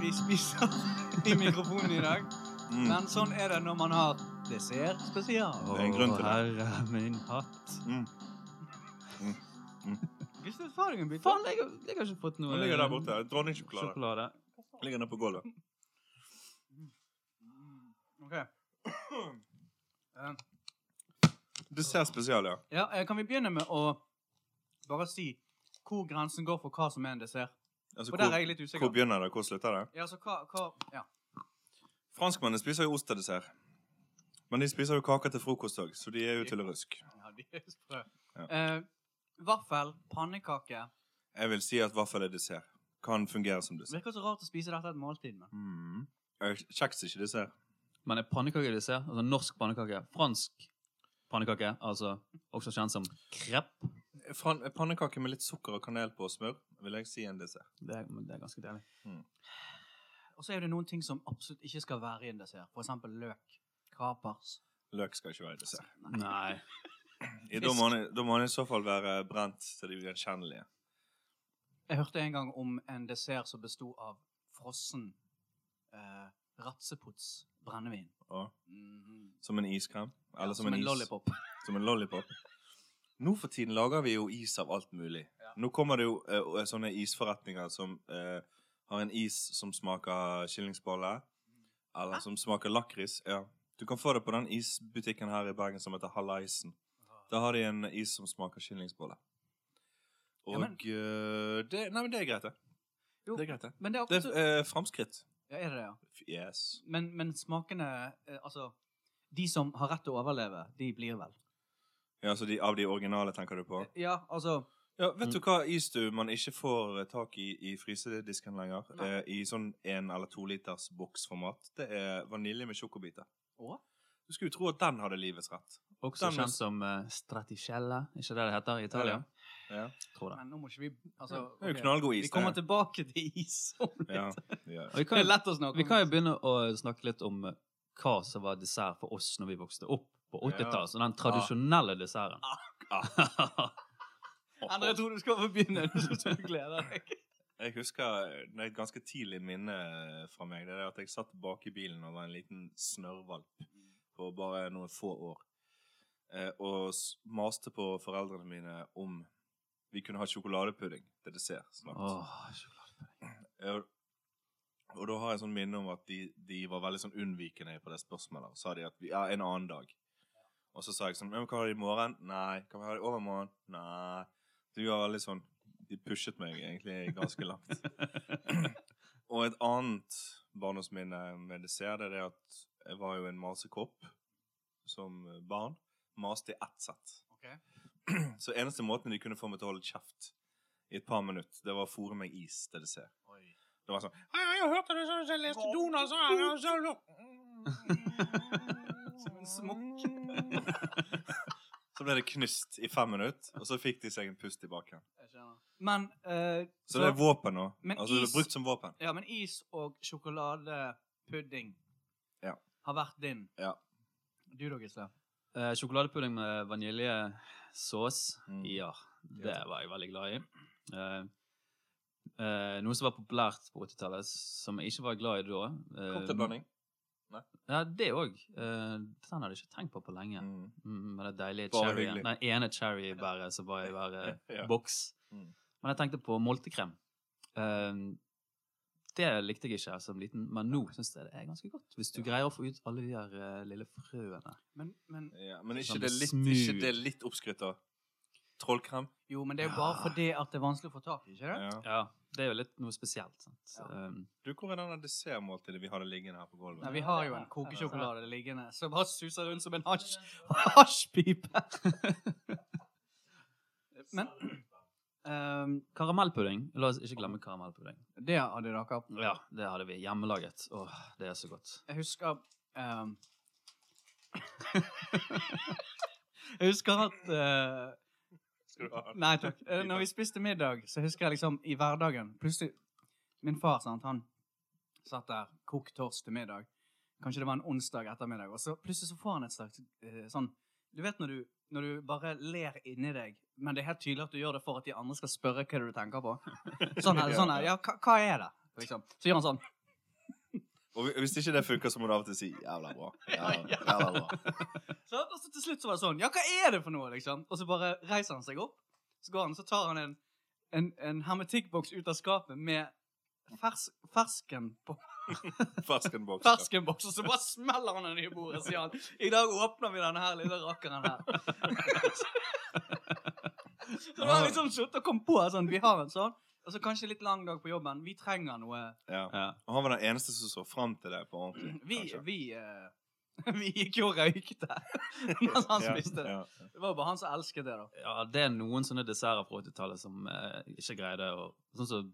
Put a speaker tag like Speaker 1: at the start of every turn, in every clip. Speaker 1: vi spiser i mikrofonen i dag.
Speaker 2: Mm.
Speaker 1: Men sånn er det når man har dessert spesial.
Speaker 2: Det er en grunn til det.
Speaker 3: Herre min hatt.
Speaker 2: Mm.
Speaker 1: Gustav, ta deg en bit.
Speaker 3: Faen, jeg, har- jeg har ikke fått noe eh,
Speaker 2: Hun ligger der borte. Dronningsjokolade.
Speaker 3: Sjokolade.
Speaker 2: Ligger nede på gulvet.
Speaker 1: Mm, Ok. Eh,
Speaker 2: Dessert spesial, ja.
Speaker 1: Ja, eh, kan vi begynne med å bare si hvor grensen går for hva som er en dessert?
Speaker 2: Altså,
Speaker 1: For der er
Speaker 2: hvor,
Speaker 1: jeg litt
Speaker 2: hvor
Speaker 1: usikker.
Speaker 2: begynner det? Hvor slutter det?
Speaker 1: Ja, så hva, hva Ja.
Speaker 2: Franskmennene spiser jo ost til dessert. Men de spiser jo kaker til frokost òg, så de er jo tullerusk.
Speaker 1: ja de er sprø.
Speaker 2: Ja.
Speaker 1: Eh, vaffel, pannekake
Speaker 2: Jeg vil si at vaffel er dessert. Kan fungere som dessert.
Speaker 1: Virker så rart å spise dette et måltid med.
Speaker 2: Mm. Eh, Kjeks er ikke dessert.
Speaker 3: Men er pannekake de ser? Altså norsk pannekake. Fransk pannekake, altså også kjent som krepp.
Speaker 2: Fran pannekake med litt sukker og kanel på og smør vil jeg si er en dessert.
Speaker 3: Det er, men det er ganske deilig.
Speaker 1: Og så er det noen ting som absolutt ikke skal være i en dessert. For eksempel løk. Kapers.
Speaker 2: Løk skal ikke være i dessert.
Speaker 3: Nei.
Speaker 2: I, da, må den, da må den i så fall være brent til de ugjenkjennelige.
Speaker 1: Jeg hørte en gang om en dessert som besto av frossen eh, ratsepots brennevin.
Speaker 2: Og
Speaker 1: Mhm.
Speaker 2: Som en iskrem. Eller
Speaker 1: Ja,
Speaker 2: som, en, is.
Speaker 1: lollipop.
Speaker 2: Som en lollipop. Nå for tiden lager vi jo is av alt mulig. Nå kommer det jo eh, sånne isforretninger som eh, har en is som smaker skillingsbolle, eller som smaker lakris. Ja. Du kan få det på den isbutikken her i Bergen som heter Hallaisen. Da har de en is som smaker skillingsbolle. Og
Speaker 1: Ja, men-
Speaker 2: eh, det, nei, men det er greit, det.
Speaker 1: Jo,
Speaker 2: Det er greit, det.
Speaker 1: men det er,
Speaker 2: Det
Speaker 1: akkurat,
Speaker 2: er eh, framskritt.
Speaker 1: ja, er det det, ja.
Speaker 2: Yes.
Speaker 1: Men, men smakene eh, Altså, de som har rett til å overleve, de blir vel.
Speaker 2: Ja, så de, Av de originale, tenker du på?
Speaker 1: Ja, altså
Speaker 2: Ja, Vet du hva is du man ikke får eh, tak i i frysedisken lenger?
Speaker 1: Nei.
Speaker 2: Eh, I sånn en eller to liters boksformat. Det er vanilje med sjokobiter.
Speaker 1: Å?
Speaker 2: Du skulle jo tro at den hadde livets rett.
Speaker 3: Også
Speaker 2: Den er-
Speaker 3: kjent som uh, straticella, ikke det det heter i Italia?
Speaker 2: Ja.
Speaker 3: Tror det.
Speaker 1: Men nå må ikke vi altså,
Speaker 2: Det er jo
Speaker 1: ok.
Speaker 2: knallgod is.
Speaker 1: Vi kommer
Speaker 2: det.
Speaker 1: tilbake til is om litt.
Speaker 2: Ja, ja.
Speaker 3: Og vi
Speaker 1: Det er
Speaker 3: kan,
Speaker 1: lett å snakke om.
Speaker 3: vi kan jo begynne å snakke litt om eh, hva som var dessert for oss når vi vokste opp på 80-tallet. Så den tradisjonelle desserten.
Speaker 2: Ah.
Speaker 1: Endre, jeg tror du skal få begynne. Du skal glede deg.
Speaker 2: Jeg husker eh, det er et ganske tidlig minne eh, fra meg. Det er at jeg satt bak i bilen og var en liten snørrvalp på bare noen få år. Eh, og s- maste på foreldrene mine om vi kunne ha sjokoladepudding til dessert snart.
Speaker 3: Åh,
Speaker 2: Ja, Eh, og da har jeg sånn minne om at de, de var veldig sånn unnvikende på det spørsmålet. Og sa de at vi, ja, en annen dag. Og så sa jeg sånn, ja, men hva har de i morgen? Nei. Kan vi ha det i overmorgen? Nei. Du var veldig sånn, de pushet meg egentlig ganske langt. og et annet barndomsminne med dessert er det at jeg var jo en masekopp som barn. Maste i ett sett. Så eneste måten de kunne få meg til å holde kjeft i et par minutter, det var å fôre meg is til dessert. Det var sånn «Hei, Jeg hørte du sånn, så jeg leste Donald så er det så lo-
Speaker 1: Som en
Speaker 2: Så ble det knust i fem minutter, og så fikk de seg en pust tilbake. igjen.
Speaker 1: Jeg skjønner. Men, eh,
Speaker 2: Så det er våpen nå.
Speaker 1: Men
Speaker 2: Altså, det er
Speaker 1: is-
Speaker 2: brukt som våpen.
Speaker 1: ja, men is og sjokoladepudding
Speaker 2: Ja.
Speaker 1: har vært din.
Speaker 2: Ja.
Speaker 1: Du da, Gisle?
Speaker 3: Eh, sjokoladepudding med vaniljesaus.
Speaker 2: Mm.
Speaker 3: Ja, det var jeg veldig glad i. Eh, eh, noe som var populært på 80-tallet, som jeg ikke var glad i da. eh,
Speaker 2: Cocktailblanding.
Speaker 3: Ja, det òg. den hadde jeg ikke tenkt på på lenge.
Speaker 2: Mm.
Speaker 3: Mm, med det deilige
Speaker 2: Bare
Speaker 3: cherry,
Speaker 2: hyggelig.
Speaker 3: den ene cherrybæret som var i hver eh,
Speaker 2: Ja.
Speaker 3: boks.
Speaker 2: Mm.
Speaker 3: Men jeg tenkte på moltekrem. Eh, det likte jeg ikke som liten, men nå syns jeg det er ganske godt. Hvis du greier å få ut alle de der eh, lille frøene.
Speaker 1: Men, men,
Speaker 2: Ja, men ikke
Speaker 3: Sånn
Speaker 2: det litt,
Speaker 3: smooth.
Speaker 2: ikke det litt oppskrytt, da? Trollkrem?
Speaker 1: jo, men det er jo bare
Speaker 3: Ja.
Speaker 1: fordi at det er vanskelig å få tak i, ikke det?
Speaker 2: Ja.
Speaker 3: Ja, det er jo litt noe spesielt. Sant?
Speaker 1: Ja.
Speaker 3: Eh,
Speaker 2: Du, hvor er denne dessertmåltidet vi hadde liggende her på gulvet?
Speaker 1: Nei, vi har jo en kokesjokolade liggende som bare suser rundt som en hasj hasjpipe. men ehm,
Speaker 3: Karamellpudding. La oss ikke glemme karamellpudding.
Speaker 1: Det hadde dere.
Speaker 3: Ja, det hadde vi hjemmelaget. Åh, det er så godt.
Speaker 1: Jeg husker ehm, Jeg husker at eh,
Speaker 2: Skal du ha den?
Speaker 1: Nei takk. Eh, Når vi spiste middag, så husker jeg liksom i hverdagen Plutselig Min far, sant, han satt der, kokt torsk til middag. Kanskje det var en onsdag ettermiddag, og så plutselig så får han et slags eh, sånn Du vet når du, når du bare ler inni deg, men det er helt tydelig at du gjør det for at de andre skal spørre hva det er du tenker på? Sånn her, sånn her ja, hva, hva er det? Liksom. Så gjør han sånn
Speaker 2: Og hvi- hvis ikke det funker, så må du av og til si 'jævla bra'. Jævla,
Speaker 1: Ja, ja.
Speaker 2: jævla bra.
Speaker 1: Sant? Og så til slutt så var det sånn Ja, hva er det for noe, liksom? Og så bare reiser han seg opp, så går han, så tar han en, en, en hermetikkboks ut av skapet med fers, fersken på
Speaker 2: Fersken boks.
Speaker 1: ferskenboks, og så bare smeller han den i bordet, sier han. I dag åpner vi denne her lille rakkeren her. så da har jeg liksom sluttet å komme på sånn, vi har en sånn, og så kanskje litt lang dag på jobben. Vi trenger noe
Speaker 2: Ja.
Speaker 3: Ja.
Speaker 2: Og han var den eneste som så fram til det på ordentlig.
Speaker 1: Vi,
Speaker 2: kanskje.
Speaker 1: vi, eh, vi gikk jo og røykte mens han
Speaker 2: Ja,
Speaker 1: spiste det.
Speaker 2: ja.
Speaker 1: Det var jo bare han som elsket det, da.
Speaker 3: ja, det er noen sånne desserter fra 80-tallet som eh, ikke greide å Sånn som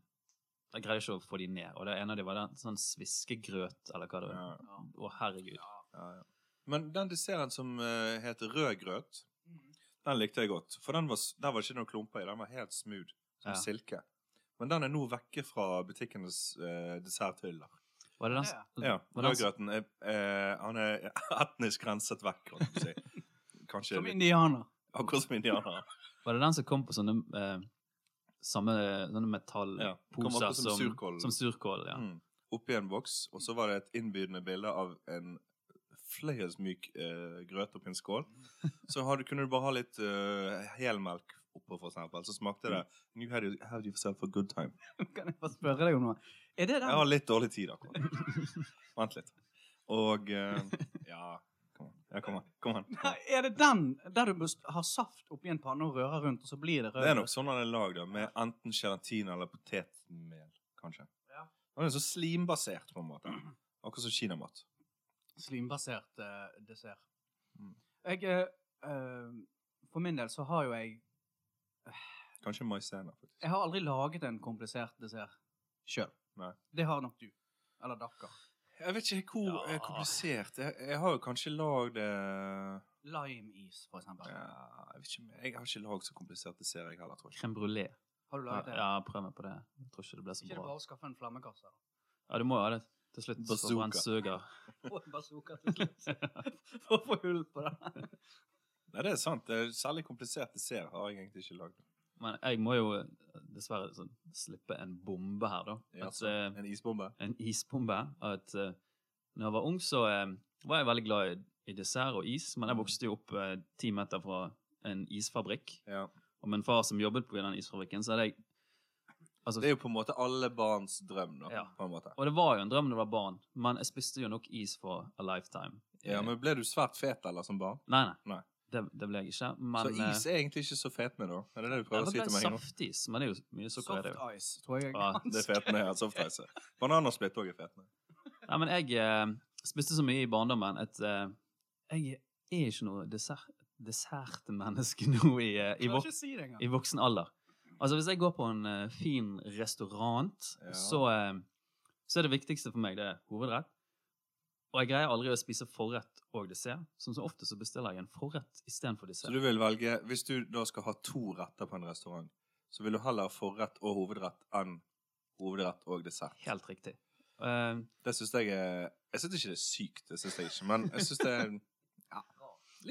Speaker 3: Jeg greide ikke å få de ned. Og det ene av de var den sånn sviskegrøt, eller hva det var.
Speaker 2: Ja,
Speaker 1: Ja.
Speaker 3: Å, herregud.
Speaker 2: ja, ja. Men den desserten som eh, heter rød grøt,
Speaker 1: Mm.
Speaker 2: den likte jeg godt. For den var, s- der var ikke noen klumper i. Den var helt smooth, som
Speaker 3: Ja.
Speaker 2: silke. Men den er nå vekke fra butikkenes eh, desserthyller.
Speaker 3: Var det den s-
Speaker 1: Mm.
Speaker 2: Ja,
Speaker 3: var
Speaker 1: altså-
Speaker 3: den
Speaker 2: Rødgrøten
Speaker 3: s-
Speaker 2: er, eh, han er etnisk renset vekk, kan du si. Kanskje
Speaker 1: Som
Speaker 2: litt-
Speaker 1: indianer.
Speaker 2: akkurat som indianere.
Speaker 3: Var det den som kom på sånne eh, samme sånne metallposer
Speaker 2: Ja, kom opp på som
Speaker 3: som,
Speaker 2: surkål.
Speaker 3: som surkål? Ja.
Speaker 2: Mm. Oppi en boks, og så var det et innbydende bilde av en fløyelsmyk eh, grøt oppi en skål. Så hadde, kunne du bare ha litt eh, helmelk oppå, for eksempel. Så smakte det
Speaker 1: Mm.
Speaker 2: You had, you- had yourself a good time.
Speaker 1: Kan jeg få spørre deg om noe? Er det den?
Speaker 2: Jeg har litt dårlig tid akkurat. Vent litt. Og eh, Ja, kom an. Ja, kom an. Kom an.
Speaker 1: Nei, er det den der du best- har saft oppi en panne og rører rundt, og så blir det rød?
Speaker 2: Det er nok sånn han er lagd, da, med enten gelatin eller potetmel, kanskje.
Speaker 1: Ja.
Speaker 2: Den er så slimbasert, på en måte. Akkurat som kinamat.
Speaker 1: Slimbasert eh, dessert.
Speaker 2: Mm.
Speaker 1: Jeg, eh, eh, for min del så har jo jeg
Speaker 2: Kanskje maisena, faktisk.
Speaker 1: Jeg har aldri laget en komplisert dessert sjøl.
Speaker 2: Nei.
Speaker 1: Det har nok du. Eller dakker.
Speaker 2: Jeg vet ikke hvor
Speaker 3: Ja.
Speaker 2: eh, komplisert Jeg, jeg har jo kanskje lagd eh,
Speaker 1: Limeis, for eksempel.
Speaker 2: ja, jeg, vet ikke, om- jeg har ikke lagd så komplisert dessert, jeg heller, tror jeg.
Speaker 3: Crème brulé.
Speaker 1: Har du
Speaker 3: Ja,
Speaker 1: laget det?
Speaker 3: ja, prøv meg på det. Jeg tror ikke det ble så
Speaker 1: Ikke det
Speaker 3: bra.
Speaker 1: bare å skaffe en flammekasse?
Speaker 3: Ja, du må jo ha det til slutt. så
Speaker 2: Bazooka.
Speaker 3: brent suger.
Speaker 1: Og en bazooka til slutt. For å få hull på den.
Speaker 2: Nei, det er sant. Det er særlig komplisert dessert har jeg egentlig ikke lagd.
Speaker 3: Men jeg må jo dessverre sånn, slippe en bombe her, da.
Speaker 2: Ja,
Speaker 3: At, eh,
Speaker 2: En isbombe?
Speaker 3: en isbombe. At uh, når jeg var ung, så eh, var jeg veldig glad i, i dessert og is.
Speaker 2: Mm.
Speaker 3: Men jeg vokste jo opp eh, ti meter fra en isfabrikk.
Speaker 2: Ja.
Speaker 3: Og med en far som jobbet på den isfabrikken, så hadde jeg altså,
Speaker 2: Det er jo på en måte alle barns drøm, da.
Speaker 3: Ja.
Speaker 2: På en måte.
Speaker 3: Og det var jo en drøm da jeg var barn, men jeg spiste jo nok is for a lifetime.
Speaker 2: Ja, men ble du svært fet, eller, som barn?
Speaker 3: Nei, nei.
Speaker 2: Nei.
Speaker 3: Det, det ble jeg ikke. Men, eh,
Speaker 2: så is er egentlig ikke så fet med, da? Er det det du
Speaker 3: jeg
Speaker 2: prøver å si til meg nå?
Speaker 3: Saftis, men det er jo mye sukker i det.
Speaker 1: Soft
Speaker 3: jo.
Speaker 1: ice, tror jeg.
Speaker 3: Ja,
Speaker 2: Det er fetende, ja. Softice. Banan og splitt òg er fetende.
Speaker 3: Nei, men jeg eh, spiste så mye i barndommen at eh, jeg er ikke noe dessert, dessertmenneske nå i, eh, i,
Speaker 1: Jeg
Speaker 3: vok
Speaker 1: klarer ikke å si det engang.
Speaker 3: i voksen alder. Altså, hvis jeg går på en eh, fin restaurant,
Speaker 2: Ja.
Speaker 3: så, eh, så er det viktigste for meg det er hovedrett. Og jeg greier aldri å spise forrett og dessert. Som så ofte så bestiller jeg en forrett istedenfor
Speaker 2: Så
Speaker 3: dessert.
Speaker 2: du vil velge Hvis du da skal ha to retter på en restaurant, så vil du heller ha forrett og hovedrett enn hovedrett og dessert.
Speaker 3: Helt riktig. Eh,
Speaker 2: Det syns jeg er Jeg syns ikke det er sykt, det syns jeg ikke, men jeg syns det er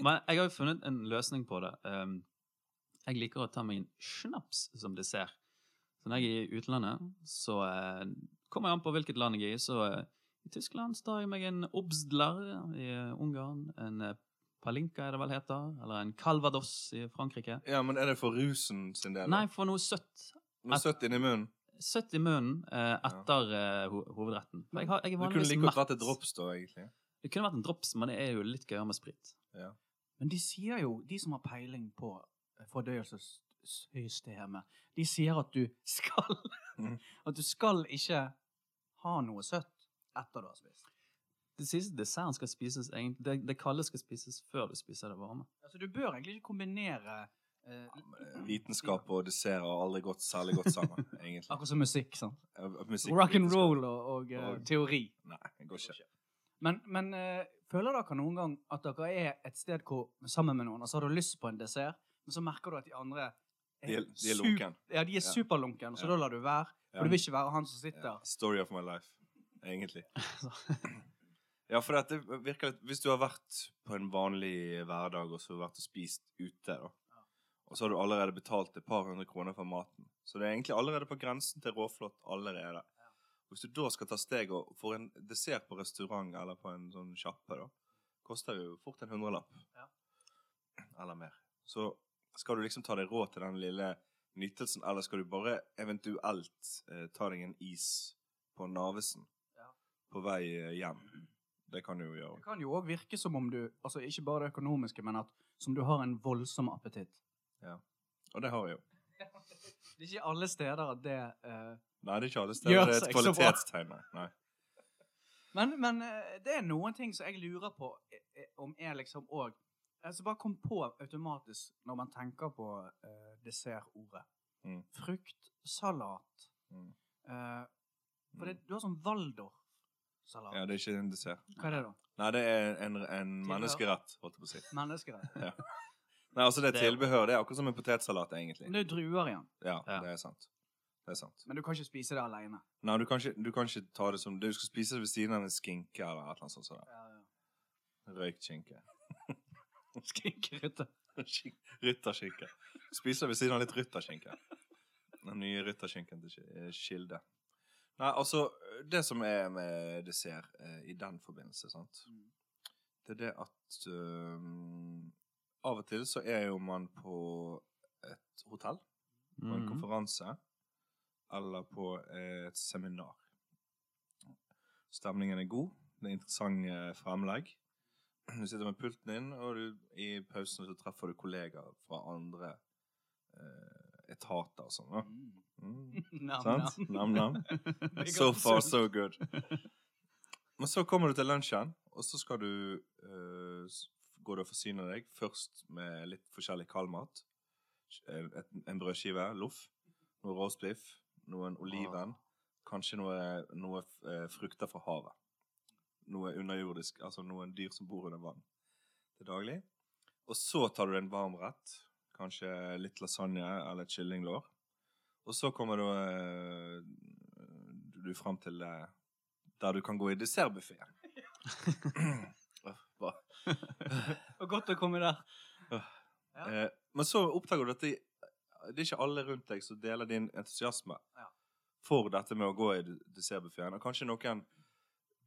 Speaker 3: men jeg har jo funnet en løsning på det. Um, jeg liker å ta meg en snaps som dessert. Så når jeg er i utlandet, så eh, kommer jeg an på hvilket land jeg er i. Så eh, i Tyskland så tar jeg meg en Obstler i eh, Ungarn. En eh, Palinka, er det vel heter. Eller en Calvados i Frankrike.
Speaker 2: Ja, men er det for rusen sin del?
Speaker 3: Nei, for noe søtt.
Speaker 2: Noe
Speaker 1: altså,
Speaker 2: søtt inni munnen?
Speaker 3: Søtt i munnen eh, etter eh, ho hovedretten. For jeg, har, jeg
Speaker 2: Du
Speaker 3: er
Speaker 2: kunne
Speaker 3: vanligvis
Speaker 2: like godt
Speaker 3: mett.
Speaker 2: vært et drops, da, egentlig.
Speaker 3: Det kunne vært en drops, men det er jo litt gøyere med sprit.
Speaker 1: Men de sier jo, de som har peiling på eh, fordøyelsessystemet, de sier at du skal
Speaker 2: Mm.
Speaker 1: At du skal ikke ha noe søtt etter du har spist.
Speaker 3: Det siste desserten skal spises egentlig, det, det kalde skal spises før du spiser det varme.
Speaker 1: Altså, du bør egentlig ikke kombinere eh,
Speaker 2: Vitenskap og dessert har aldri gått særlig godt sammen, egentlig.
Speaker 1: Akkurat som musikk, sant?
Speaker 2: Eh, musikk og
Speaker 1: Rock and
Speaker 2: vitenskap.
Speaker 1: roll og, og eh,
Speaker 2: Og-
Speaker 1: teori.
Speaker 2: Nei, det går ikke.
Speaker 1: Men, men eh, føler dere noen gang at dere er et sted hvor, sammen med noen, og så har du lyst på en dessert, men så merker du at de andre
Speaker 2: De er, de er
Speaker 1: sup-
Speaker 2: lunken.
Speaker 1: Ja, de er
Speaker 2: Ja.
Speaker 1: superlunken, så
Speaker 2: Ja.
Speaker 1: da lar du være.
Speaker 2: Ja.
Speaker 1: For du vil ikke være han som sitter
Speaker 2: Ja, Story of my life, egentlig. Ja, for dette virker litt Hvis du har vært på en vanlig hverdag og så vært og spist ute, da, og så har du allerede betalt et par hundre kroner for maten, så det er egentlig allerede på grensen til råflott allerede. Hvis du da skal ta steget og får en dessert på restaurant eller på en sånn sjappe, da, koster jo fort en hundrelapp.
Speaker 1: Ja.
Speaker 2: Eller mer. Så skal du liksom ta deg råd til den lille nytelsen, eller skal du bare eventuelt eh, ta deg en is på Narvesen
Speaker 1: Ja.
Speaker 2: på vei eh, hjem? Det kan du jo
Speaker 1: Det
Speaker 2: gjøre.
Speaker 1: kan jo òg virke som om du altså Ikke bare det økonomiske, men at som du har en voldsom appetitt.
Speaker 2: Og det har jeg jo.
Speaker 1: Det er ikke alle steder at det eh,
Speaker 2: Nei, det er ikke alle
Speaker 1: Gjør
Speaker 2: steder. Det er
Speaker 1: seg
Speaker 2: et
Speaker 1: så bra.
Speaker 2: kvalitetstegn. nei. Nei.
Speaker 1: Men, men eh, det er noen ting som jeg lurer på eh, eh, om er liksom òg Altså bare kom på automatisk når man tenker på eh, dessertordet.
Speaker 2: Mm.
Speaker 1: Frukt, salat
Speaker 2: Mm.
Speaker 1: eh, For det, du har sånn Waldorf-salat.
Speaker 2: Ja, det er ikke en dessert.
Speaker 1: Hva er det, da?
Speaker 2: Nei, det er en, en menneskerett, holdt jeg på å si.
Speaker 1: Menneskerett.
Speaker 2: Nei, altså det er
Speaker 3: Det-
Speaker 2: tilbehør. Det er akkurat som en potetsalat, egentlig.
Speaker 1: Men det er druer igjen.
Speaker 2: Ja,
Speaker 3: Ja.
Speaker 2: det er sant. Det er sant.
Speaker 1: Men du kan ikke spise det aleine.
Speaker 2: Nei, du kan ikke, du kan ikke ta det som Du skal spise det ved siden av en skinke eller et eller annet sånt. sånt. Røykt skinke.
Speaker 1: Skinkerytter.
Speaker 2: Skink- rytterskinke. Spiser ved siden av litt rytterskinke. Den nye rytterskinken til Ki- eh, Kilde. Nei, altså Det som er med dessert eh, i den forbindelse, sant
Speaker 1: Mm.
Speaker 2: Det er det at øhm, Av og til så er jo man på et hotell. på
Speaker 1: Mm.
Speaker 2: en
Speaker 3: Mhm.
Speaker 2: konferanse eller på eh, et seminar. Stemningen er god, det er interessante eh, fremlegg. Du sitter med pulten din, og du, i pausen så treffer du kollegaer fra andre eh, etater og sånn. da.
Speaker 1: Mm.
Speaker 2: Mm.
Speaker 1: Nam,
Speaker 2: Sant?
Speaker 1: nam.
Speaker 2: Nam-nam.
Speaker 1: Big
Speaker 2: So
Speaker 1: up,
Speaker 2: far,
Speaker 1: Sult.
Speaker 2: so good. Men så kommer du til lunsjen, og så skal du eh, s- går du og forsyner deg først med litt forskjellig kaldmat. En, et- en brødskive, loff, noe roastbiff, noen oliven, kanskje noe, noe eh, frukter fra havet. Noe underjordisk, altså noen dyr som bor under vann til daglig. Og så tar du en varm rett, kanskje litt lasagne eller et kyllinglår. Og så kommer du, eh, du frem til eh, der du kan gå i dessertbuffeen.
Speaker 1: Og godt å komme der. Ja.
Speaker 2: Eh, men så oppdager du at det, det er ikke alle rundt deg som deler din entusiasme
Speaker 1: Ja.
Speaker 2: for dette med å gå i d- dessertbuffeen. Og kanskje noen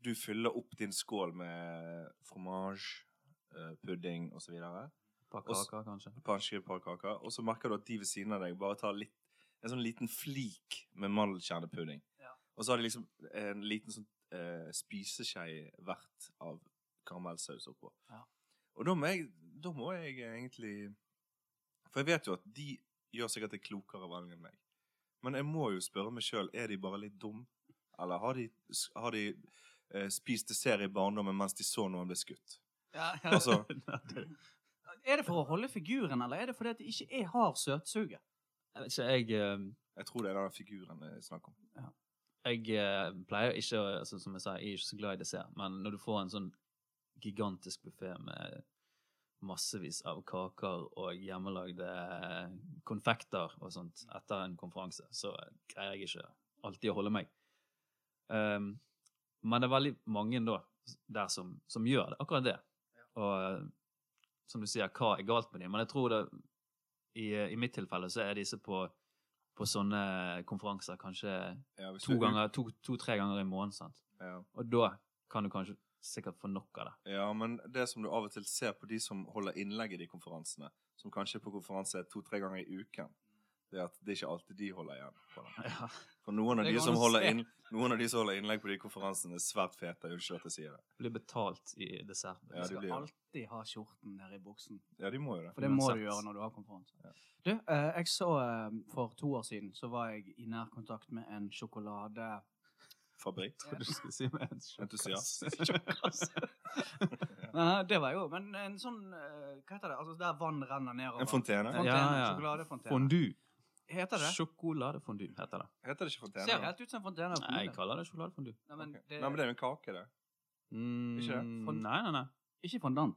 Speaker 2: du fyller opp din skål med fromage, eh, pudding osv.
Speaker 3: Et par kaker, kanskje.
Speaker 2: Kanskje et par kaker. Og så merker du at de ved siden av deg bare tar litt, en sånn liten flik med mandelkjernepudding.
Speaker 1: Ja.
Speaker 2: Og så har de liksom en liten sånn eh, spiseskje hvert av karamellsaus oppå.
Speaker 1: Ja.
Speaker 2: Og da må, jeg, da må jeg egentlig For jeg vet jo at de gjør sikkert et klokere valg enn meg. Men jeg må jo spørre meg sjøl er de bare litt dum? Eller har de, har de eh, spist dessert i barndommen mens de så noen bli skutt?
Speaker 1: Ja, ja.
Speaker 2: Altså,
Speaker 1: Er det for å holde figuren, eller er det fordi at det ikke er hard søtsuge?
Speaker 3: Jeg vet ikke, jeg eh,
Speaker 2: jeg tror det er den figuren jeg snakker om.
Speaker 3: Jeg eh, pleier ikke å altså, Som jeg sa, jeg er ikke så glad i dessert, men når du får en sånn gigantisk buffé med massevis av kaker og hjemmelagde konfekter og sånt etter en konferanse, så greier jeg ikke alltid å holde meg. Um, men det er veldig mange da der som, som gjør det, akkurat det. Og eh, som du sier, hva er galt med dem? Men jeg tror det i, i mitt tilfelle så er disse på, på sånne konferanser kanskje
Speaker 2: Ja, hvis
Speaker 3: to-tre
Speaker 2: du-
Speaker 3: ganger, to, to, tre ganger i måneden. sant?
Speaker 2: Ja.
Speaker 3: Og da kan du kanskje sikkert få nok av det.
Speaker 2: Ja, men det som du av og til ser på de som holder innlegg i de konferansene, som kanskje er på konferanse to-tre ganger i uken, det er at det er ikke alltid de holder igjen. på det.
Speaker 3: Ja.
Speaker 2: For noen av,
Speaker 1: Det
Speaker 2: de
Speaker 1: går
Speaker 2: som
Speaker 1: an å
Speaker 2: holder
Speaker 1: se.
Speaker 2: inn, noen av de som holder innlegg på de konferansene, er svært fete. Unnskyld at jeg sier det.
Speaker 3: Blir betalt i liksom. dessert.
Speaker 2: Ja,
Speaker 1: Du
Speaker 2: det
Speaker 1: skal
Speaker 2: blir det.
Speaker 1: alltid ha skjorten nede i buksen.
Speaker 2: Ja, de må jo det.
Speaker 1: For det må
Speaker 3: Uansett.
Speaker 1: du gjøre når du har konferanse.
Speaker 2: Ja.
Speaker 1: Du, eh, jeg så eh, for to år siden så var jeg i nærkontakt med en sjokolade...
Speaker 2: Fabrikk.
Speaker 3: Hva du skulle si med en sjokkass.
Speaker 2: Entusiast.
Speaker 3: Sjokkass.
Speaker 1: Nei, det var jeg òg, men en sånn eh, Hva heter det? Altså der vann renner nedover.
Speaker 2: En fontene.
Speaker 1: Fontene,
Speaker 3: Ja, ja.
Speaker 1: Sjokoladefontene.
Speaker 3: Fondue.
Speaker 1: Heter det?
Speaker 3: Sjokoladefondue heter det.
Speaker 2: Heter det ikke fontene?
Speaker 1: Ser
Speaker 2: da?
Speaker 1: helt ut som en fontene. av
Speaker 3: Nei, jeg
Speaker 1: fugler.
Speaker 3: kaller det sjokoladefondue.
Speaker 1: Nei, men
Speaker 2: Ok.
Speaker 1: det,
Speaker 2: Nei, men det er jo en kake, det.
Speaker 3: Mm,
Speaker 2: Ikke det?
Speaker 1: Fond-
Speaker 3: Nei, nei, nei.
Speaker 1: Ikke fondant.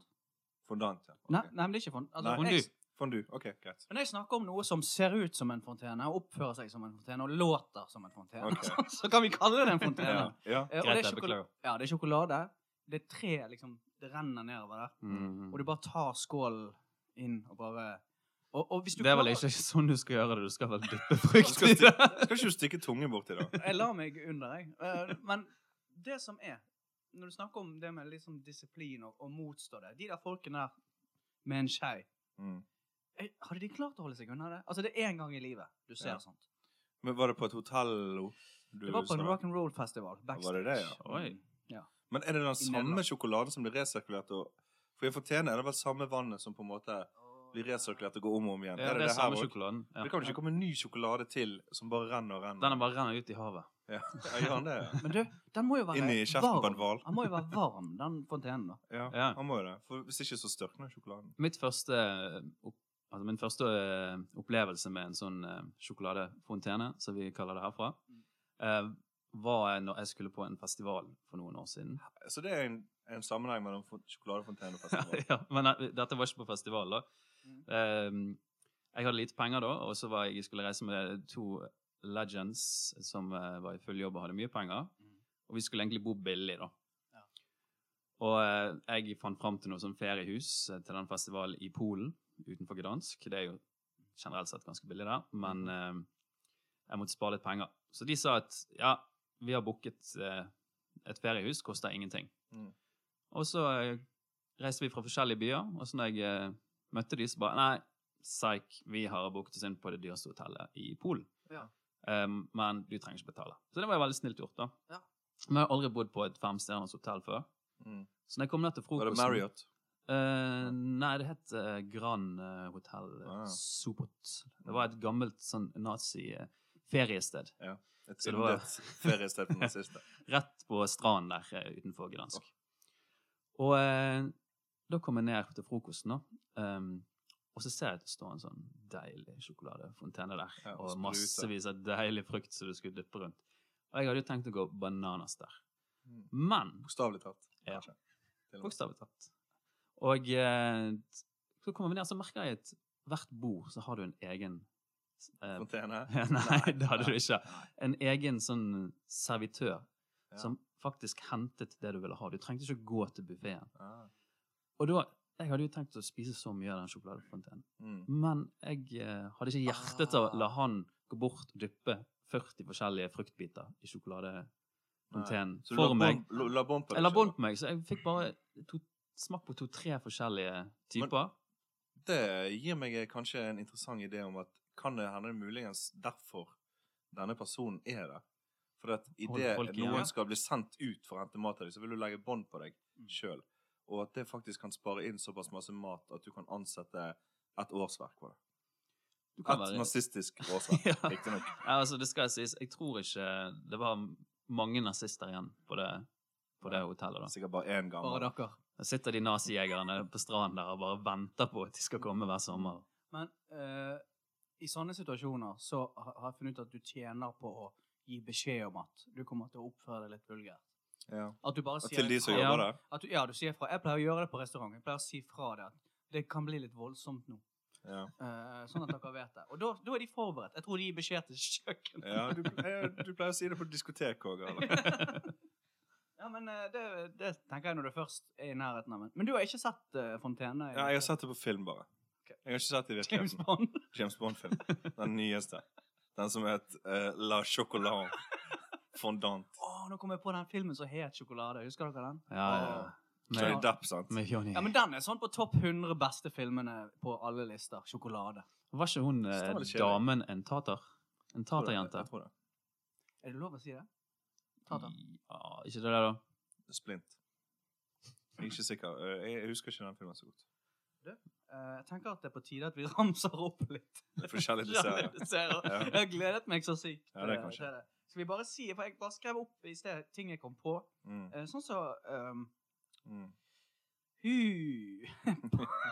Speaker 2: Fondant, ja.
Speaker 1: Nei, Altså,
Speaker 2: Ok.
Speaker 1: nei, men det er ikke fondant.
Speaker 2: Nei.
Speaker 1: jeg,
Speaker 3: Fondue.
Speaker 2: Fondue. Ok, greit.
Speaker 1: Men jeg snakker om noe som ser ut som en fontene, og oppfører seg som en fontene, og låter som en fontene.
Speaker 2: Ok.
Speaker 1: Så kan vi kalle Sånn det en fontene.
Speaker 2: Ja. ja.
Speaker 1: Eh, og
Speaker 3: Greit,
Speaker 1: det er
Speaker 3: jeg
Speaker 1: sjokolade.
Speaker 3: beklager.
Speaker 1: Ja, det er sjokolade. Det er tre, liksom, det renner nedover der.
Speaker 3: Mm.
Speaker 1: Og du bare tar skålen inn og bare Og, og hvis du
Speaker 3: Det er vel
Speaker 1: klarer-
Speaker 3: ikke sånn du skal gjøre det. Du skal vel dyppe
Speaker 2: Du
Speaker 3: frukt
Speaker 2: skal
Speaker 3: i det.
Speaker 2: Skal ikke du stikke tunge borti da?
Speaker 1: Jeg lar meg under, jeg. Eh, men det som er Når du snakker om det med liksom disiplin og, og motstå det De der folkene der med en skei
Speaker 2: Mm.
Speaker 1: jeg- Hadde de klart å holde seg unna det? Altså, det er én gang i livet du ser
Speaker 2: Ja.
Speaker 1: sånt.
Speaker 2: Men var det på et hotell? Lo? Du
Speaker 1: Det var på
Speaker 2: sa
Speaker 1: en
Speaker 2: det?
Speaker 1: rock'n'roll-festival.
Speaker 2: Var det det, ja? Mm.
Speaker 3: Oi.
Speaker 2: Men er det den samme
Speaker 1: Nederland.
Speaker 2: sjokoladen som blir resirkulert? Og, for jeg fortjener er det vel samme vannet som på en måte blir resirkulert og går om og om igjen?
Speaker 3: Ja,
Speaker 2: er
Speaker 3: det er
Speaker 2: her
Speaker 3: samme
Speaker 2: også?
Speaker 3: sjokoladen. Ja.
Speaker 2: Det kan jo ikke komme ny sjokolade til som bare renner og renner.
Speaker 3: Den bare renner ut i havet.
Speaker 2: Ja, ja, gjør han det? ja?
Speaker 1: Men du, den må jo være
Speaker 2: Inn i kjeften på
Speaker 1: varm.
Speaker 2: en hval.
Speaker 1: Den må jo være varm, den fontenen. da.
Speaker 2: Ja,
Speaker 3: Ja.
Speaker 2: han må jo det. For Hvis ikke, så størkner sjokoladen.
Speaker 3: Mitt første, eh, opp, altså min første eh, opplevelse med en sånn eh, sjokoladefontene, som vi kaller det herfra, eh, var når jeg skulle på en festival for noen år siden.
Speaker 2: Så det er en, en sammenheng mellom fo- sjokoladefontene og festival.
Speaker 3: ja, men eh, dette var ikke på festival, da.
Speaker 1: Mm.
Speaker 3: Eh, jeg hadde lite penger da, og så var jeg, skulle jeg reise med to legends som eh, var i full jobb og hadde mye penger.
Speaker 1: Mm.
Speaker 3: Og vi skulle egentlig bo billig, da.
Speaker 1: Ja.
Speaker 3: Og eh, jeg fant fram til noe sånn feriehus eh, til den festivalen i Polen, utenfor Gdansk. Det er jo generelt sett ganske billig der, men
Speaker 1: Mm.
Speaker 3: eh, jeg måtte spare litt penger. Så de sa at ja, vi har booket eh, et feriehus, koster ingenting.
Speaker 2: Mm.
Speaker 3: Og så eh, reiste vi fra forskjellige byer, og så når jeg eh, møtte de, så bare Nei, psyk, vi har booket oss inn på det dyreste hotellet i Polen.
Speaker 1: Ja.
Speaker 3: Um, men du trenger ikke betale. Så det var jo veldig snilt gjort, da.
Speaker 1: Ja.
Speaker 3: Men jeg har aldri bodd på et femstjerners hotell før.
Speaker 2: Mm.
Speaker 3: Så når jeg kom ned til
Speaker 2: Var
Speaker 3: frokosten
Speaker 2: det Marriott?
Speaker 3: Eh, nei, det het eh, Gran eh, Hotel eh,
Speaker 2: Ah.
Speaker 3: Sopot. Det var et gammelt sånn nazi-feriested.
Speaker 2: Et
Speaker 3: Så det var-
Speaker 2: yndet feriested for nazister.
Speaker 3: Rett på stranden der eh, utenfor Gdansk. Og eh, da kom jeg ned til frokosten, da. Ehm, og så ser jeg at det står en sånn deilig sjokoladefontene der.
Speaker 2: Ja, og
Speaker 3: og
Speaker 2: spruter.
Speaker 3: massevis av deilig frukt som du skulle dyppe rundt. Og jeg hadde jo tenkt å gå bananas der.
Speaker 2: Mm.
Speaker 3: Men
Speaker 2: Bokstavelig talt.
Speaker 3: Ja.
Speaker 2: kanskje.
Speaker 3: bokstavelig talt. Og eh, så kommer vi ned, så merker jeg at hvert bord så har du en egen eh,
Speaker 2: Fontene?
Speaker 3: Nei, det hadde du
Speaker 2: nei.
Speaker 3: ikke. En egen sånn servitør
Speaker 2: Ja.
Speaker 3: som faktisk hentet det du ville ha. Du trengte ikke å gå til buffeen.
Speaker 2: Ah.
Speaker 3: Og da Jeg hadde jo tenkt å spise så mye av den sjokoladefontenen,
Speaker 2: Mm.
Speaker 3: men jeg eh, hadde ikke hjerte til å la
Speaker 1: Ah.
Speaker 3: han gå bort og dyppe 40 forskjellige fruktbiter i sjokoladefontenen
Speaker 2: Nei. Så du
Speaker 3: for
Speaker 2: la
Speaker 3: meg.
Speaker 2: bånd- la- La bånd på deg
Speaker 3: Jeg la
Speaker 2: selv,
Speaker 3: bånd
Speaker 2: da.
Speaker 3: på meg, så jeg fikk bare to, smak på to-tre forskjellige typer.
Speaker 2: Det gir meg eh, kanskje en interessant idé om at kan det hende muligens derfor denne personen er der? For at
Speaker 3: Holde
Speaker 2: idet
Speaker 3: folk igjen.
Speaker 2: noen skal bli sendt ut for å hente mat til deg, så vil du legge bånd på deg
Speaker 1: Mm.
Speaker 2: sjøl. Og at det faktisk kan spare inn såpass masse mat at du kan ansette et årsverk på det.
Speaker 3: Du kan
Speaker 2: Et
Speaker 3: være
Speaker 2: nazistisk årsverk,
Speaker 3: Ja.
Speaker 2: riktignok.
Speaker 3: Ja, altså, det skal sies. Jeg tror ikke det var mange nazister igjen på det, på det hotellet. da.
Speaker 2: Sikkert bare én
Speaker 1: Bare
Speaker 2: gammel.
Speaker 1: dere.
Speaker 3: Da sitter de nazijegerne på stranden der og bare venter på at de skal komme hver sommer.
Speaker 1: Men eh, i sånne situasjoner så har har jeg funnet ut at du tjener på å gi beskjed om at du kommer til å oppføre deg litt vulgært.
Speaker 2: Ja.
Speaker 1: At du bare
Speaker 2: Og
Speaker 1: sier
Speaker 2: til de som
Speaker 1: fra.
Speaker 3: Ja.
Speaker 2: jobber der.
Speaker 1: At du, ja, du sier fra. Jeg pleier å gjøre det på restaurant. Jeg pleier å si fra det. at Det kan bli litt voldsomt nå.
Speaker 2: Ja.
Speaker 1: Eh, sånn at dere vet det. Og da, da er de forberedt. Jeg tror de gir beskjed til kjøkkenet.
Speaker 2: ja du, eh, du pleier å si det på diskotek òg, eller?
Speaker 1: Ja, men eh, det, det tenker jeg når du først er i nærheten av en. Men du har ikke sett eh, Fontene? i-
Speaker 2: Ja, jeg har sett det på film, bare.
Speaker 1: Ok.
Speaker 2: Jeg har ikke sett det i
Speaker 1: James
Speaker 2: virkeligheten.
Speaker 1: Bond?
Speaker 2: James Bond-film. Den nyeste. Den som het eh, La Chocolate Fondant.
Speaker 1: Å, nå kom jeg på den filmen som het Sjokolade. Husker dere den?
Speaker 3: Ja, ja. ja.
Speaker 2: Johnny
Speaker 3: Med,
Speaker 2: Depp, sant?
Speaker 3: med Johnny.
Speaker 1: Ja, men Den er sånn på topp 100 beste filmene på alle lister. Sjokolade.
Speaker 3: Var ikke hun eh,
Speaker 2: Står det kjedelig?
Speaker 3: damen en tater? En
Speaker 2: Jeg tror det,
Speaker 3: taterjente?
Speaker 2: Jeg tror det.
Speaker 1: Er det lov å si det?
Speaker 2: Mm.
Speaker 1: Tater.
Speaker 3: Ja, ikke det der, da?
Speaker 2: Splint. Jeg er ikke sikker. Eh, Jeg husker ikke den filmen så godt.
Speaker 1: Eh, jeg tenker at det er på tide at vi ramser opp litt.
Speaker 2: Det er forskjellig til serien.
Speaker 1: Serier.
Speaker 2: Ja.
Speaker 1: Jeg har gledet meg så sykt.
Speaker 2: Ja, det
Speaker 1: eh,
Speaker 2: kan skje.
Speaker 1: til det. Skal vi bare si, for Jeg bare skrev opp i sted ting jeg kom på.
Speaker 2: Mm,
Speaker 1: Eh, sånn som så, um,
Speaker 2: mm.
Speaker 1: hu,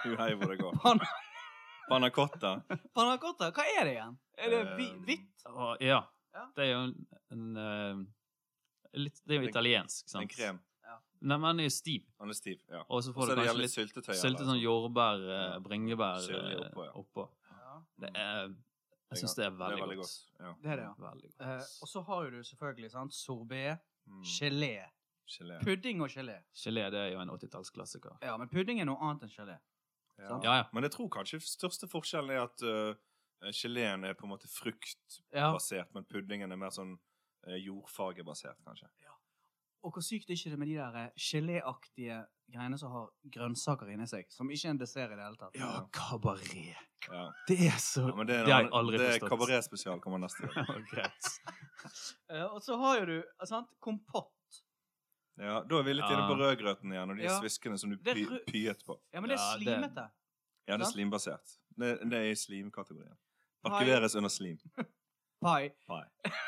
Speaker 2: Hu hei hvor det går.
Speaker 1: pan,
Speaker 2: Panna cotta.
Speaker 1: Panna cotta, hva er det igjen? Er det hvi-
Speaker 2: Um,
Speaker 1: hvitt?
Speaker 3: Å, ja.
Speaker 1: Ja.
Speaker 3: Det er jo en, en eh, litt, Det er jo
Speaker 2: En-
Speaker 3: italiensk, sant?
Speaker 2: En krem.
Speaker 3: Nei, men den er jo stiv.
Speaker 2: Han er stiv. Ja.
Speaker 3: Og så
Speaker 2: Og
Speaker 3: får
Speaker 2: så
Speaker 3: du
Speaker 2: er det
Speaker 3: kanskje
Speaker 2: jævlig
Speaker 3: litt
Speaker 2: syltetøy. altså.
Speaker 3: sylte sånn jordbær, eh, bringebær
Speaker 2: Syrlig
Speaker 3: eh,
Speaker 2: oppå, ja. Mm.
Speaker 3: oppå.
Speaker 1: Ja,
Speaker 3: Det er, jeg syns det er veldig, godt.
Speaker 2: Ja.
Speaker 1: det er det, ja.
Speaker 3: Veldig godt.
Speaker 1: Eh, og så har jo du selvfølgelig sant, sorbé,
Speaker 2: Mm.
Speaker 1: gelé.
Speaker 2: Gelé.
Speaker 1: Pudding og gelé.
Speaker 3: Gelé det er jo en 80-tallsklassiker.
Speaker 1: Ja, men pudding er noe annet enn gelé.
Speaker 2: Ja.
Speaker 1: Sant?
Speaker 3: Ja, ja.
Speaker 2: Men jeg tror kanskje største forskjellen er at uh, geleen er på en måte fruktbasert,
Speaker 1: Ja.
Speaker 2: men puddingen er mer sånn eh, jordfagebasert, kanskje.
Speaker 1: Og hvor sykt er ikke det med de der eh, geléaktige greiene som har grønnsaker inni seg? Som ikke er en dessert i det hele tatt.
Speaker 2: Ja.
Speaker 3: kabaret.
Speaker 2: Ja.
Speaker 3: Det er så
Speaker 2: Ja, men det, er en
Speaker 3: Det har jeg
Speaker 2: annen-
Speaker 3: aldri
Speaker 2: det er
Speaker 3: forstått.
Speaker 2: Kabaretspesial kommer neste gang.
Speaker 3: Greit.
Speaker 1: Eh, og så har jo du eh, sant, kompott.
Speaker 2: Ja, da er vi litt inne på
Speaker 3: Ja.
Speaker 2: rødgrøten igjen, og de
Speaker 1: Ja.
Speaker 2: sviskene som du
Speaker 1: Det er
Speaker 2: py
Speaker 1: rød-
Speaker 2: pyet på.
Speaker 1: Ja, men det er
Speaker 3: Ja, det-
Speaker 1: slimete.
Speaker 2: Ja, det er
Speaker 1: Sant?
Speaker 2: slimbasert. Det, det er i slimkategorien.
Speaker 1: Pai.
Speaker 2: Arkiveres under slim.
Speaker 1: Pai.
Speaker 2: Pai.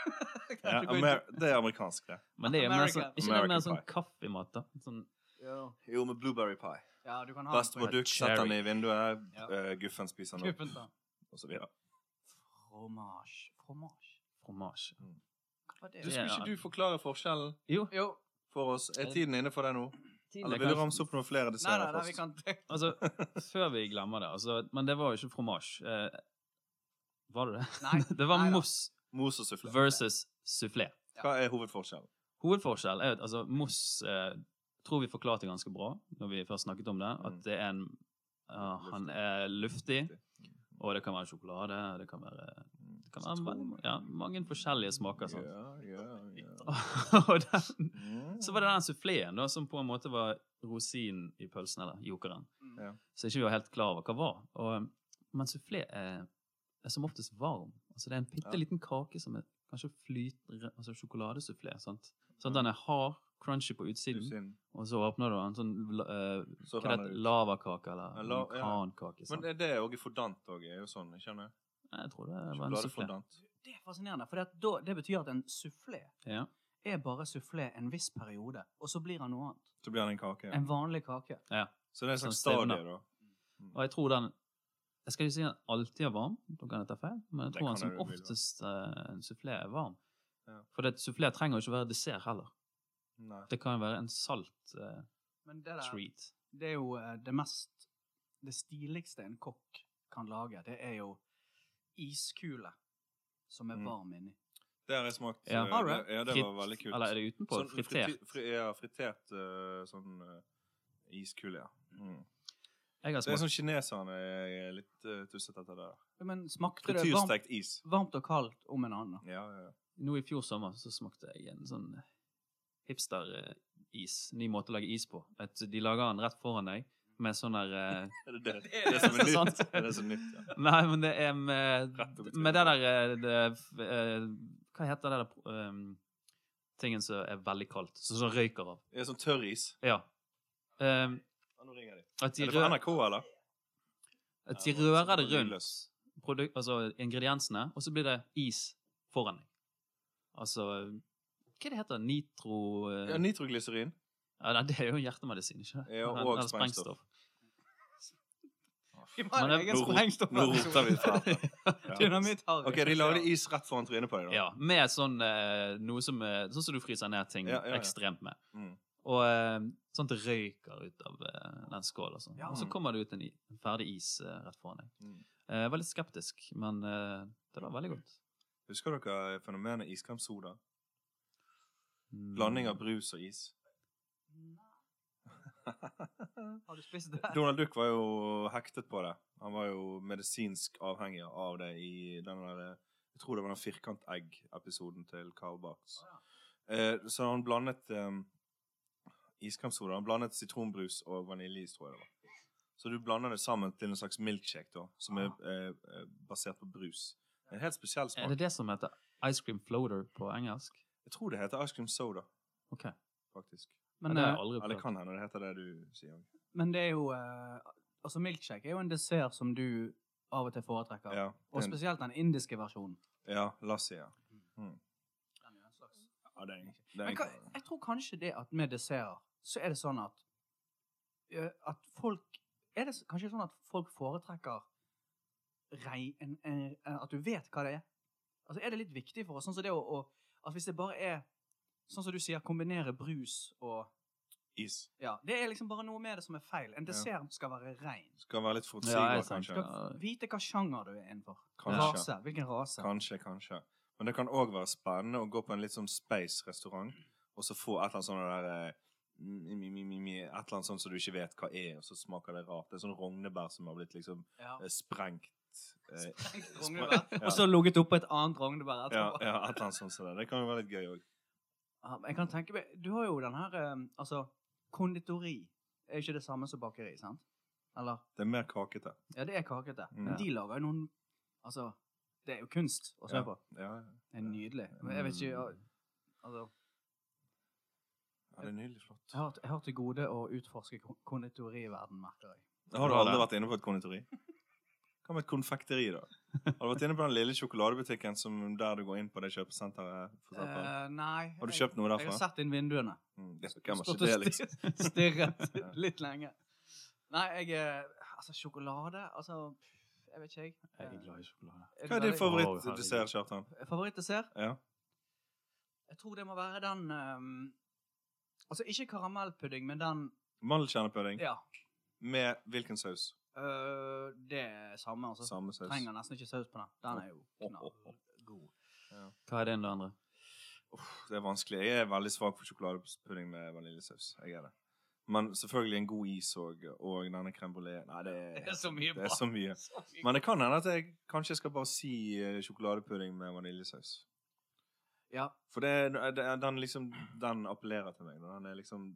Speaker 1: Kanskje
Speaker 2: Ja,
Speaker 1: du går
Speaker 2: Amer det er amerikansk, det.
Speaker 3: Men det er mer sånn,
Speaker 1: American.
Speaker 3: ikke det er mer
Speaker 2: American
Speaker 3: sånn
Speaker 2: pie.
Speaker 3: kaffemat, da? Sånn,
Speaker 1: ut- Ja.
Speaker 2: Jo, med blueberry pie.
Speaker 1: Ah, ja, du kan ha
Speaker 2: Best
Speaker 1: den på
Speaker 2: produkt,
Speaker 3: cherry.
Speaker 2: sett den i vinduet,
Speaker 1: Ja.
Speaker 2: eh, guffen spiser den opp,
Speaker 1: kuppen, da.
Speaker 2: og så videre.
Speaker 1: Fromage. Fromage.
Speaker 3: Fromage.
Speaker 1: Hva var det?
Speaker 2: Du, skulle
Speaker 3: Ja.
Speaker 2: ikke du forklare forskjellen
Speaker 3: Jo,
Speaker 1: Jo.
Speaker 2: for oss? Er tiden inne for det nå? Eh, Eller
Speaker 3: det
Speaker 2: vil du
Speaker 3: kan-
Speaker 2: ramse opp noen flere
Speaker 1: Nei, nei,
Speaker 2: desserter
Speaker 1: nei, vi
Speaker 2: først?
Speaker 1: kan
Speaker 3: Altså, før vi glemmer det altså, Men det var jo ikke fromage. Eh, var det det?
Speaker 1: Nei.
Speaker 3: Det var
Speaker 1: nei da.
Speaker 3: mousse
Speaker 2: Mos og sufflé.
Speaker 3: versus soufflé.
Speaker 1: Ja.
Speaker 2: Hva er hovedforskjellen?
Speaker 3: Hovedforskjell er jo at altså, mousse eh, tror vi forklarte ganske bra når vi først snakket om det, at
Speaker 2: Mm.
Speaker 3: det er en eh, Han er luftig, og det kan være sjokolade, det kan være, det kan være veldig, ja, mange forskjellige smaker. sant?
Speaker 2: Ja, ja, ja.
Speaker 3: Og den,
Speaker 2: Mm.
Speaker 3: Så var det den suffleen da, som på en måte var rosinen i pølsen, eller jokeren.
Speaker 1: Mm.
Speaker 2: Ja.
Speaker 3: Så ikke vi var helt klar over hva var. Og, men sufflé er, er som oftest varm. Altså det er en bitte
Speaker 2: Ja.
Speaker 3: liten kake som er kanskje flytende, altså sjokoladesufflé, sant? Sånn at den er hard, crunchy på utsiden,
Speaker 2: Synd.
Speaker 3: og så åpner du den sånn, la- eh,
Speaker 2: Så
Speaker 3: hva
Speaker 2: renner
Speaker 3: det
Speaker 2: det
Speaker 3: heter,
Speaker 2: ut.
Speaker 3: lavakake,
Speaker 2: Ja,
Speaker 3: eller
Speaker 2: la- ja.
Speaker 3: vulkankake,
Speaker 2: Men
Speaker 3: sant?
Speaker 2: det- det er jo fordant òg, er jo sånn, kjenner jeg.
Speaker 3: Nei, Jeg tror liksom. det var en sufflé.
Speaker 2: Sjokoladefondant.
Speaker 1: Det er fascinerende, for det, at da, det betyr at en sufflé
Speaker 3: Ja.
Speaker 1: er bare sufflé en viss periode, og så blir han noe annet.
Speaker 2: Så blir det en kake. Ja.
Speaker 1: En vanlig kake.
Speaker 2: Så det er en slags
Speaker 3: Sånn
Speaker 2: stadie,
Speaker 3: stevne.
Speaker 2: da.
Speaker 3: Og jeg tror den Jeg skal ikke si den alltid er varm, da kan jeg ta feil, men jeg
Speaker 2: Det
Speaker 3: tror
Speaker 2: kan
Speaker 3: den som
Speaker 2: det jo bli, da.
Speaker 3: oftest eh, en sufflé er varm.
Speaker 2: Ja.
Speaker 3: For det sufflé trenger jo ikke være dessert heller.
Speaker 2: Nei.
Speaker 3: Det kan jo være en salt eh,
Speaker 1: Men det der,
Speaker 3: treat.
Speaker 1: det er jo eh, det mest Det stiligste en kokk kan lage, det er jo iskule som er
Speaker 2: Mm.
Speaker 1: varm inni.
Speaker 2: Det har jeg smakt.
Speaker 3: Ja.
Speaker 2: eh,
Speaker 1: Har du?
Speaker 2: det- Ja, det var
Speaker 3: Frit-
Speaker 2: veldig kult.
Speaker 3: Eller er det utenpå?
Speaker 2: Sånn
Speaker 3: Fritert.
Speaker 2: friti- Fri, ja, fritert eh, sånn uh, iskule, ja. Mm.
Speaker 3: Jeg har
Speaker 2: Det er
Speaker 3: smakt
Speaker 2: sånn kineserne er litt uh, tussete etter det. der.
Speaker 1: Men smakte det varmt,
Speaker 2: Frityrstekt is.
Speaker 1: varmt og kaldt om en annen?
Speaker 2: Ja, ja, ja.
Speaker 3: Nå i fjor sommer så smakte jeg en sånn hipster-is. Ny måte å lage is på. Et, de lager den rett foran deg med sånn der eh,
Speaker 2: Er det det?
Speaker 1: er
Speaker 2: Det er som er
Speaker 3: det
Speaker 2: nytt.
Speaker 3: sant?
Speaker 2: Det er det som er nytt, ja.
Speaker 3: Nei, men det er med,
Speaker 2: Rett opp i trynet.
Speaker 3: med det der eh, det, eh, Hva heter det der eh, Tingen som er veldig kaldt, som som røyker av.
Speaker 2: Det er sånn tørr is.
Speaker 3: Ja. Eh,
Speaker 2: Ja, nå ringer de.
Speaker 3: at de
Speaker 2: Er det
Speaker 3: rø-
Speaker 2: fra NRK, eller?
Speaker 3: At
Speaker 2: Ja,
Speaker 3: de
Speaker 2: det var-
Speaker 3: rører det
Speaker 2: sånn det var
Speaker 3: rundt
Speaker 2: lydløs.
Speaker 3: produk- altså ingrediensene, og så blir det is foran deg. Altså Hva er det heter det? Nitro... eh,
Speaker 2: Ja, nitroglyserin.
Speaker 3: ja, nei, det er jo hjertemedisin, ikke det?
Speaker 2: Ja, og
Speaker 3: Eller- eller
Speaker 2: sprengstoff.
Speaker 1: Vi må ha en
Speaker 3: Men det-
Speaker 1: egen
Speaker 2: Nå rop-
Speaker 1: sprengstoff.
Speaker 2: nå roter vi fra. Ja.
Speaker 1: Dynamitt har vi.
Speaker 2: OK, de lagde is rett foran trynet på deg, da.
Speaker 3: Ja, med sånn eh, noe som eh, Sånn som du fryser ned ting
Speaker 2: Ja, ja, ja.
Speaker 3: ekstremt med.
Speaker 2: Mm.
Speaker 3: Og eh, sånn at det røyker ut av eh, den skålen og sånn.
Speaker 1: Ja.
Speaker 3: Og så kommer det ut en, i- en ferdig is eh, rett foran deg.
Speaker 2: Mm.
Speaker 3: Eh, Jeg var litt skeptisk, men eh, det var veldig godt.
Speaker 2: Husker dere fenomenet iskremsoda?
Speaker 3: Mm.
Speaker 2: Blanding av brus og is.
Speaker 1: Har du spist det?
Speaker 2: Donald Duck var jo hektet på det. Han var jo medisinsk avhengig av det i den der Jeg tror det var den firkantegg-episoden til Karl Barks. Eh, så han blandet eh, iskremsoda. Han blandet sitronbrus og vaniljeis, tror jeg det var. Så du blander det sammen til en slags milkshake, da, som er eh, eh, basert på brus. En helt spesiell
Speaker 3: Er
Speaker 2: smak.
Speaker 3: det det som heter ice cream floater på engelsk?
Speaker 2: Jeg tror det heter ice cream soda,
Speaker 3: Ok.
Speaker 2: faktisk.
Speaker 1: Men,
Speaker 3: ja, det
Speaker 1: eh,
Speaker 3: har jeg aldri
Speaker 2: Eller
Speaker 3: prøvd.
Speaker 2: kan hende det heter det du sier.
Speaker 1: men det er jo eh, Altså, milkshake er jo en dessert som du av og til foretrekker.
Speaker 2: Ja,
Speaker 1: Og
Speaker 2: den-
Speaker 1: spesielt den indiske versjonen.
Speaker 2: ja lassi, ja.
Speaker 1: Den er jo en slags
Speaker 2: ja det er en, det er
Speaker 1: Men
Speaker 2: en,
Speaker 1: hva, jeg tror kanskje det at med desserter, så er det sånn at eh, At folk Er det s- kanskje sånn at folk foretrekker rei, en, en, en, At du vet hva det er? Altså Er det litt viktig for oss? Sånn som det å, å At hvis det bare er Sånn som du sier, kombinere brus og
Speaker 2: is.
Speaker 1: Ja. Det er liksom bare noe med det som er feil. En dessert skal være rein.
Speaker 2: Skal være litt
Speaker 3: Ja,
Speaker 2: forutsigbar,
Speaker 3: jeg sant.
Speaker 2: kanskje.
Speaker 1: Du skal vite hva sjanger du er innenfor.
Speaker 2: Kanskje.
Speaker 1: Rase. Hvilken rase.
Speaker 2: Kanskje, kanskje. Men det kan òg være spennende å gå på en litt sånn space-restaurant, og så få et eller annet sånn der eh, mi, mi, mi, mi, mi, et eller annet sånt som du ikke vet hva er, og så smaker det rart. Det er sånn rognebær som har blitt liksom
Speaker 1: Ja.
Speaker 2: eh, sprengt. eh,
Speaker 1: Sprengt
Speaker 2: spre-
Speaker 1: rognebær.
Speaker 2: Ja.
Speaker 1: Og så ligget oppå et annet rognebær
Speaker 2: ja,
Speaker 1: etterpå.
Speaker 2: ja, et eller annet sånt som det. Det kan jo være litt gøy òg.
Speaker 1: Ja, men jeg kan tenke meg Du har jo den her eh, Altså, konditori er ikke det samme som bakeri, sant? Eller?
Speaker 2: Det er mer kakete.
Speaker 1: Ja, det er kakete. Men
Speaker 2: Mm.
Speaker 1: de lager jo noen Altså, det er jo kunst å se på.
Speaker 2: Ja, ja.
Speaker 1: Det er nydelig. Men jeg vet ikke ja, Altså,
Speaker 2: ja, det er nydelig flott.
Speaker 1: jeg har, jeg har til gode å utforske kon- konditoriverden, merker jeg.
Speaker 2: Har du
Speaker 3: Bra,
Speaker 2: aldri
Speaker 3: da.
Speaker 2: vært inne på et konditori? Hva med et konfekteri, da? Har du vært inne på den lille sjokoladebutikken som der du går inn på det kjøpesenteret? For eksempel?
Speaker 1: Eh, nei.
Speaker 2: har du kjøpt noe
Speaker 1: jeg, jeg har
Speaker 2: derfra?
Speaker 1: sett inn vinduene.
Speaker 2: Mm, ja, hvem har
Speaker 1: Stått
Speaker 2: ikke det,
Speaker 1: og
Speaker 2: liksom?
Speaker 1: stir- stirret
Speaker 2: Ja.
Speaker 1: litt lenge. Nei, jeg er Altså, sjokolade Altså, jeg vet ikke, jeg. Eh,
Speaker 3: Jeg er glad i sjokolade.
Speaker 1: Er du
Speaker 2: Hva er din
Speaker 1: veldig-
Speaker 2: favorittdessert, Kjartan?
Speaker 1: Favorittdessert?
Speaker 2: Ja.
Speaker 1: Jeg tror det må være den ehm, Altså ikke karamellpudding, men den
Speaker 2: Mandelkjernepudding
Speaker 1: Ja.
Speaker 2: med hvilken saus?
Speaker 1: øh, det er samme, altså.
Speaker 2: Samme saus.
Speaker 1: Trenger nesten ikke saus på den. Den er jo knallgod.
Speaker 3: Hva er det enn det andre?
Speaker 2: Uff, det er vanskelig. Jeg er veldig svak for sjokoladepudding med vaniljesaus. Jeg er det. Men selvfølgelig en god is og, og denne crème brulé. Nei, det
Speaker 1: Det
Speaker 2: er,
Speaker 1: er så mye
Speaker 2: det
Speaker 1: bra.
Speaker 2: er så mye.
Speaker 1: Så mye.
Speaker 2: Men det kan hende at jeg kanskje skal bare si eh, sjokoladepudding med vaniljesaus.
Speaker 1: ja,
Speaker 2: For det, det, den liksom Den appellerer til meg. Den er liksom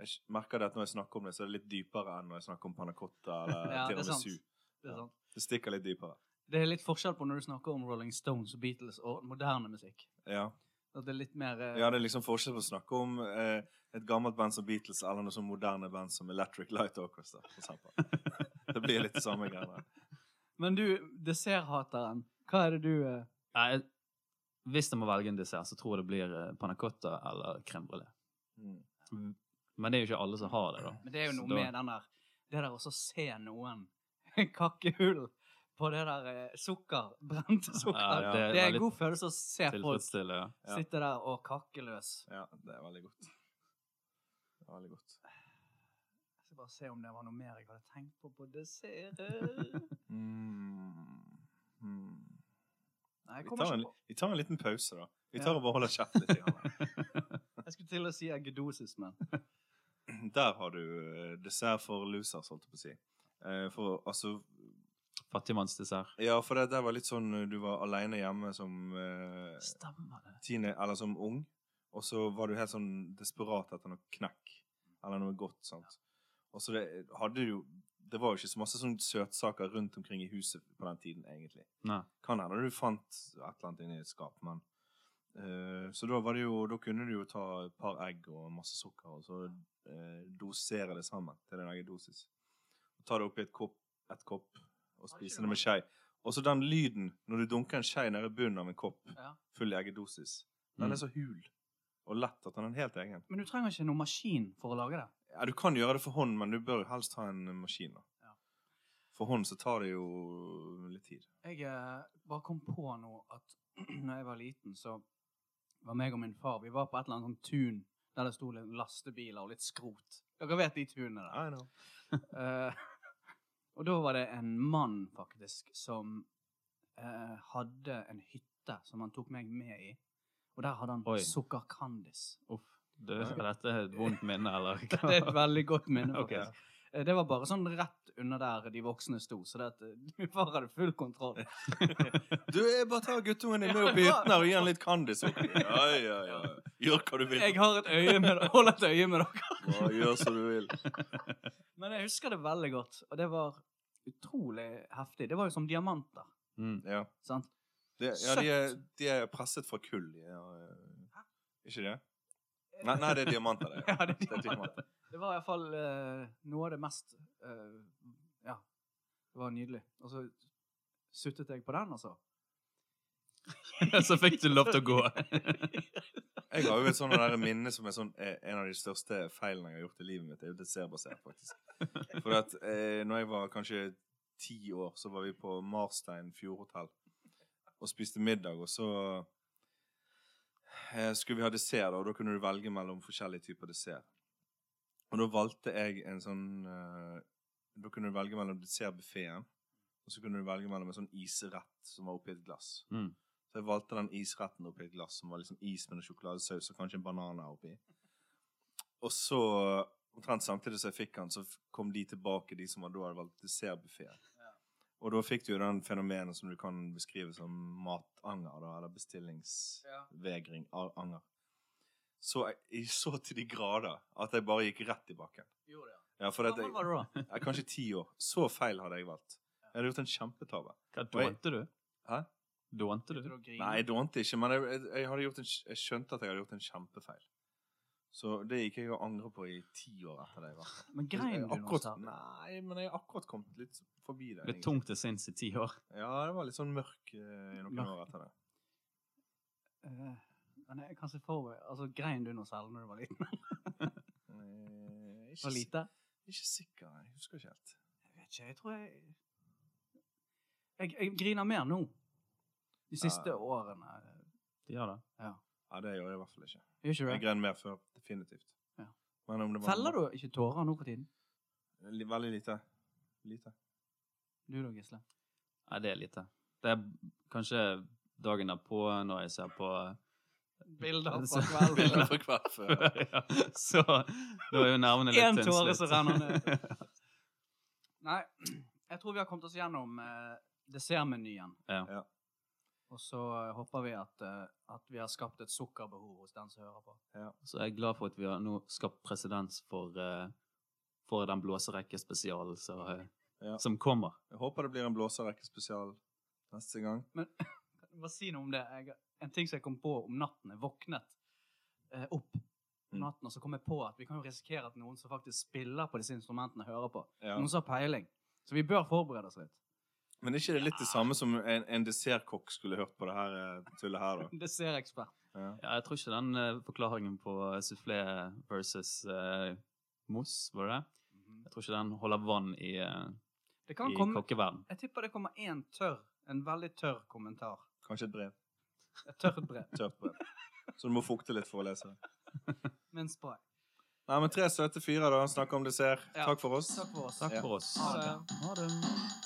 Speaker 2: Jeg merker det at når jeg snakker om det, så er det litt dypere enn når jeg snakker om panna cotta eller
Speaker 1: Ja, det er sant.
Speaker 2: tiramisu.
Speaker 1: det er sant.
Speaker 2: Det stikker litt dypere.
Speaker 1: Det er litt forskjell på når du snakker om Rolling Stones og Beatles og moderne musikk.
Speaker 2: Ja.
Speaker 1: At det er litt mer eh,
Speaker 2: Ja, det er liksom forskjell på å snakke om eh, et gammelt band som Beatles eller noe sånn moderne band som Electric Light Orchestra, for eksempel. det blir litt det samme greiene.
Speaker 1: Men du, desserthateren, hva er det du eh,
Speaker 3: Nei, jeg- hvis jeg må velge en dessert, så tror jeg det blir eh, panna cotta eller crème brulé.
Speaker 2: Mm.
Speaker 3: Men det er jo ikke alle som har det, da.
Speaker 1: Men det er jo
Speaker 3: Så
Speaker 1: noe
Speaker 3: da-
Speaker 1: med den der Det der også å se noen kakkehull på det der eh, sukker, brente sukker.
Speaker 3: Ja,
Speaker 1: det,
Speaker 3: det
Speaker 1: er
Speaker 3: er
Speaker 1: en
Speaker 3: veldig
Speaker 1: god følelse å se folk
Speaker 3: Tilfredsstille, ja.
Speaker 2: Ja.
Speaker 1: sitte der og kakke løs.
Speaker 2: Ja, det er veldig godt. Det er veldig godt.
Speaker 1: Jeg skal bare se om det var noe mer jeg hadde tenkt på på dessert. Nei,
Speaker 2: Mm. Mm.
Speaker 1: jeg
Speaker 2: Vi,
Speaker 1: kommer
Speaker 2: tar en,
Speaker 1: ikke på.
Speaker 2: vi tar en liten pause, da. Vi
Speaker 1: Ja.
Speaker 2: tar og bare holder kjeft litt. Grann.
Speaker 1: Jeg skulle til å si eggedosis, men
Speaker 2: Der har du eh, dessert for losers, holdt jeg på å si. Eh, for altså
Speaker 3: Fattigmannsdessert.
Speaker 2: Ja, for det der var litt sånn eh, du var aleine hjemme som eh,
Speaker 3: Stemmer det.
Speaker 2: tiende, eller som ung, og så var du helt sånn desperat etter noe knekk, eller noe godt, sant? Og så det hadde jo, det var jo ikke så masse sånn søtsaker rundt omkring i huset på den tiden, egentlig.
Speaker 3: Nei.
Speaker 2: Kan hende du fant et eller annet inni et skap, men... eh, så da var det jo, da kunne du jo ta et par egg og masse sukker, og så eh, dosere det sammen til din egen dosis. Ta det oppi et kopp, et kopp, og spise det med skei. Og så den lyden, når du dunker en skei nede i bunnen av en kopp,
Speaker 1: ja.
Speaker 2: full eggedosis. Den
Speaker 3: Mm.
Speaker 2: er så hul og lett at den er helt egen.
Speaker 1: Men du trenger ikke noen maskin for å lage det.
Speaker 2: Ja, du kan gjøre det for hånd, men du bør jo helst ha en maskin. da.
Speaker 1: Ja.
Speaker 2: For hånd så tar det jo litt tid.
Speaker 1: Jeg eh, bare kom på nå at når jeg var liten, så var meg og min far Vi var på et eller annet sånn tun der det sto litt lastebiler og litt skrot. Dere vet de tunene der.
Speaker 2: I know.
Speaker 1: Eh, og da var det en mann, faktisk, som eh, hadde en hytte som han tok meg med i. Og der hadde han
Speaker 3: Oi.
Speaker 1: sukkerkandis.
Speaker 3: Uff. Du, er dette et vondt minne, eller?
Speaker 1: Det er et veldig godt minne.
Speaker 3: Ok.
Speaker 1: faktisk. Eh, Det var bare sånn rett under der de voksne sto, så det at eh, min far hadde full kontroll.
Speaker 2: Du, jeg bare tar guttungen din med opp i hytten her og gir han litt Kandis. oppi. Ja, ja, ja. Gjør hva du vil.
Speaker 1: Jeg har et øye med dere. Hold et øye med dere.
Speaker 2: Ja, gjør som du vil.
Speaker 1: Men jeg husker det veldig godt, og det var utrolig heftig. Det var jo som diamanter,
Speaker 3: Mm.
Speaker 2: Ja,
Speaker 1: sant?
Speaker 2: det, ja de, er, de er presset fra kull. de er, eh, Ikke det? Nei, nei, det er diamanter. Det,
Speaker 1: Ja, det er
Speaker 2: diamanter.
Speaker 1: Det var iallfall uh, noe av det mest eh, Ja. Det var nydelig. Og så suttet jeg på den, altså.
Speaker 3: Så fikk du lov til å gå.
Speaker 2: Jeg har jo et sånt der minne som er sånn, eh, en av de største feilene jeg har gjort i livet mitt. Det er jo dessertbasert, faktisk. For at eh, når jeg var kanskje ti år, så var vi på Marstein Fjordhotell og spiste middag, og så eh, skulle vi ha dessert, og da kunne du velge mellom forskjellige typer dessert. Og da valgte jeg en sånn eh, Da kunne du velge mellom dessertbuffeen, og så kunne du velge mellom en sånn isrett som var oppi et glass.
Speaker 3: Mm.
Speaker 2: Så jeg valgte den isretten oppi et glass som var liksom is med noe sjokoladesaus og kanskje en banan oppi. Og så, omtrent samtidig som jeg fikk han, så f- kom de tilbake, de som hadde da hadde valgt dessertbuffé. Og da fikk du jo den fenomenet som du kan beskrive som matanger, da, eller
Speaker 1: Ja.
Speaker 2: bestillingsvegring av anger. Så jeg, jeg så til de grader at jeg bare gikk rett i bakken.
Speaker 1: Gjorde det, ja.
Speaker 2: Ja, for
Speaker 1: Hvor
Speaker 2: at
Speaker 1: gammel
Speaker 2: jeg,
Speaker 1: var du da?
Speaker 2: jeg, kanskje ti år. Så feil hadde jeg valgt. Jeg hadde gjort en kjempetabbe.
Speaker 3: Hva dånte du?
Speaker 2: Hæ?
Speaker 3: Dånte du?
Speaker 1: Begynte du å grine?
Speaker 2: Nei, jeg dånte ikke, men jeg, jeg, jeg, hadde gjort en, kj- jeg skjønte at jeg hadde gjort en kjempefeil. Så det gikk jeg og angret på i ti år etter det. i hvert fall.
Speaker 1: Men grein du nå,
Speaker 2: akkurat,
Speaker 1: sa
Speaker 2: Nei, men jeg har akkurat kommet litt forbi det.
Speaker 3: Ble
Speaker 2: egentlig.
Speaker 3: tungt til sinns i ti år.
Speaker 2: Ja, det var litt sånn mørk eh, i noen
Speaker 1: Mørk.
Speaker 2: år etter det.
Speaker 1: Eh, Men jeg kan se for meg Altså, grein du nå selv når du var liten?
Speaker 2: Eh, ikke,
Speaker 1: Var
Speaker 2: s-
Speaker 1: lite?
Speaker 2: ikke sikker, jeg husker ikke helt.
Speaker 1: Jeg vet ikke, jeg tror jeg Jeg, jeg griner mer nå. De siste
Speaker 2: Ja.
Speaker 1: årene.
Speaker 3: De gjør det.
Speaker 2: Ja, det gjør jeg i hvert fall ikke.
Speaker 1: Gjør ikke
Speaker 2: Jeg
Speaker 1: du det?
Speaker 2: gren mer før, definitivt.
Speaker 1: Ja.
Speaker 2: Men om det var-
Speaker 1: Feller du ikke tårer nå for tiden?
Speaker 2: Li- Veldig lite. Lite.
Speaker 1: Du da, Gisle?
Speaker 3: Nei, det er lite. Det er kanskje dagen derpå når jeg ser på
Speaker 1: Bilder
Speaker 3: Så-
Speaker 1: fra kvelden.
Speaker 2: for kveld
Speaker 3: før, ja. Så da er jo nervene litt
Speaker 1: En
Speaker 3: tynnslitt.
Speaker 1: tåre som renner ned. Nei, jeg tror vi har kommet oss gjennom eh, dessertmenyen.
Speaker 3: Ja.
Speaker 2: Ja.
Speaker 1: Og så eh, håper vi at, eh, at vi har skapt et sukkerbehov hos den som hører på.
Speaker 3: Så jeg er glad for at vi har nå skapt presedens for, eh, for den blåserekkespesialen som, eh,
Speaker 2: Ja.
Speaker 3: som kommer.
Speaker 2: Jeg håper det blir en blåserekke spesial neste gang.
Speaker 1: Kan jeg Bare si noe om det. Jeg, en ting som jeg kom på om natten. Jeg våknet eh, opp om
Speaker 2: Mm.
Speaker 1: natten, og så kom jeg på at vi kan jo risikere at noen som faktisk spiller på disse instrumentene, hører på.
Speaker 2: Ja.
Speaker 1: Noen som har peiling. Så vi bør forberede oss litt.
Speaker 2: Men er ikke det litt det samme som en, en dessertkokk skulle hørt på det her eh, tullet her, da?
Speaker 1: Dessertekspert.
Speaker 2: Ja.
Speaker 3: Ja, jeg tror ikke den eh, forklaringen på soufflé versus eh, mousse, var det? det?
Speaker 2: Mhm.
Speaker 3: Jeg tror ikke den holder vann i, eh,
Speaker 1: Det kan
Speaker 3: i
Speaker 1: komme
Speaker 3: kokkeverden.
Speaker 1: Jeg tipper det kommer én tørr, en veldig tørr kommentar.
Speaker 2: Kanskje et brev.
Speaker 1: Et tørt brev.
Speaker 2: Tørt brev. Så du må fukte litt for å lese. det.
Speaker 1: med en spray.
Speaker 2: Nei, men tre søte fyrer, da. Snakker om dessert.
Speaker 1: Ja.
Speaker 2: Takk for oss.
Speaker 1: Takk for oss.
Speaker 3: Takk
Speaker 2: Ja.
Speaker 3: for oss.
Speaker 1: Ha det.
Speaker 3: Ha det.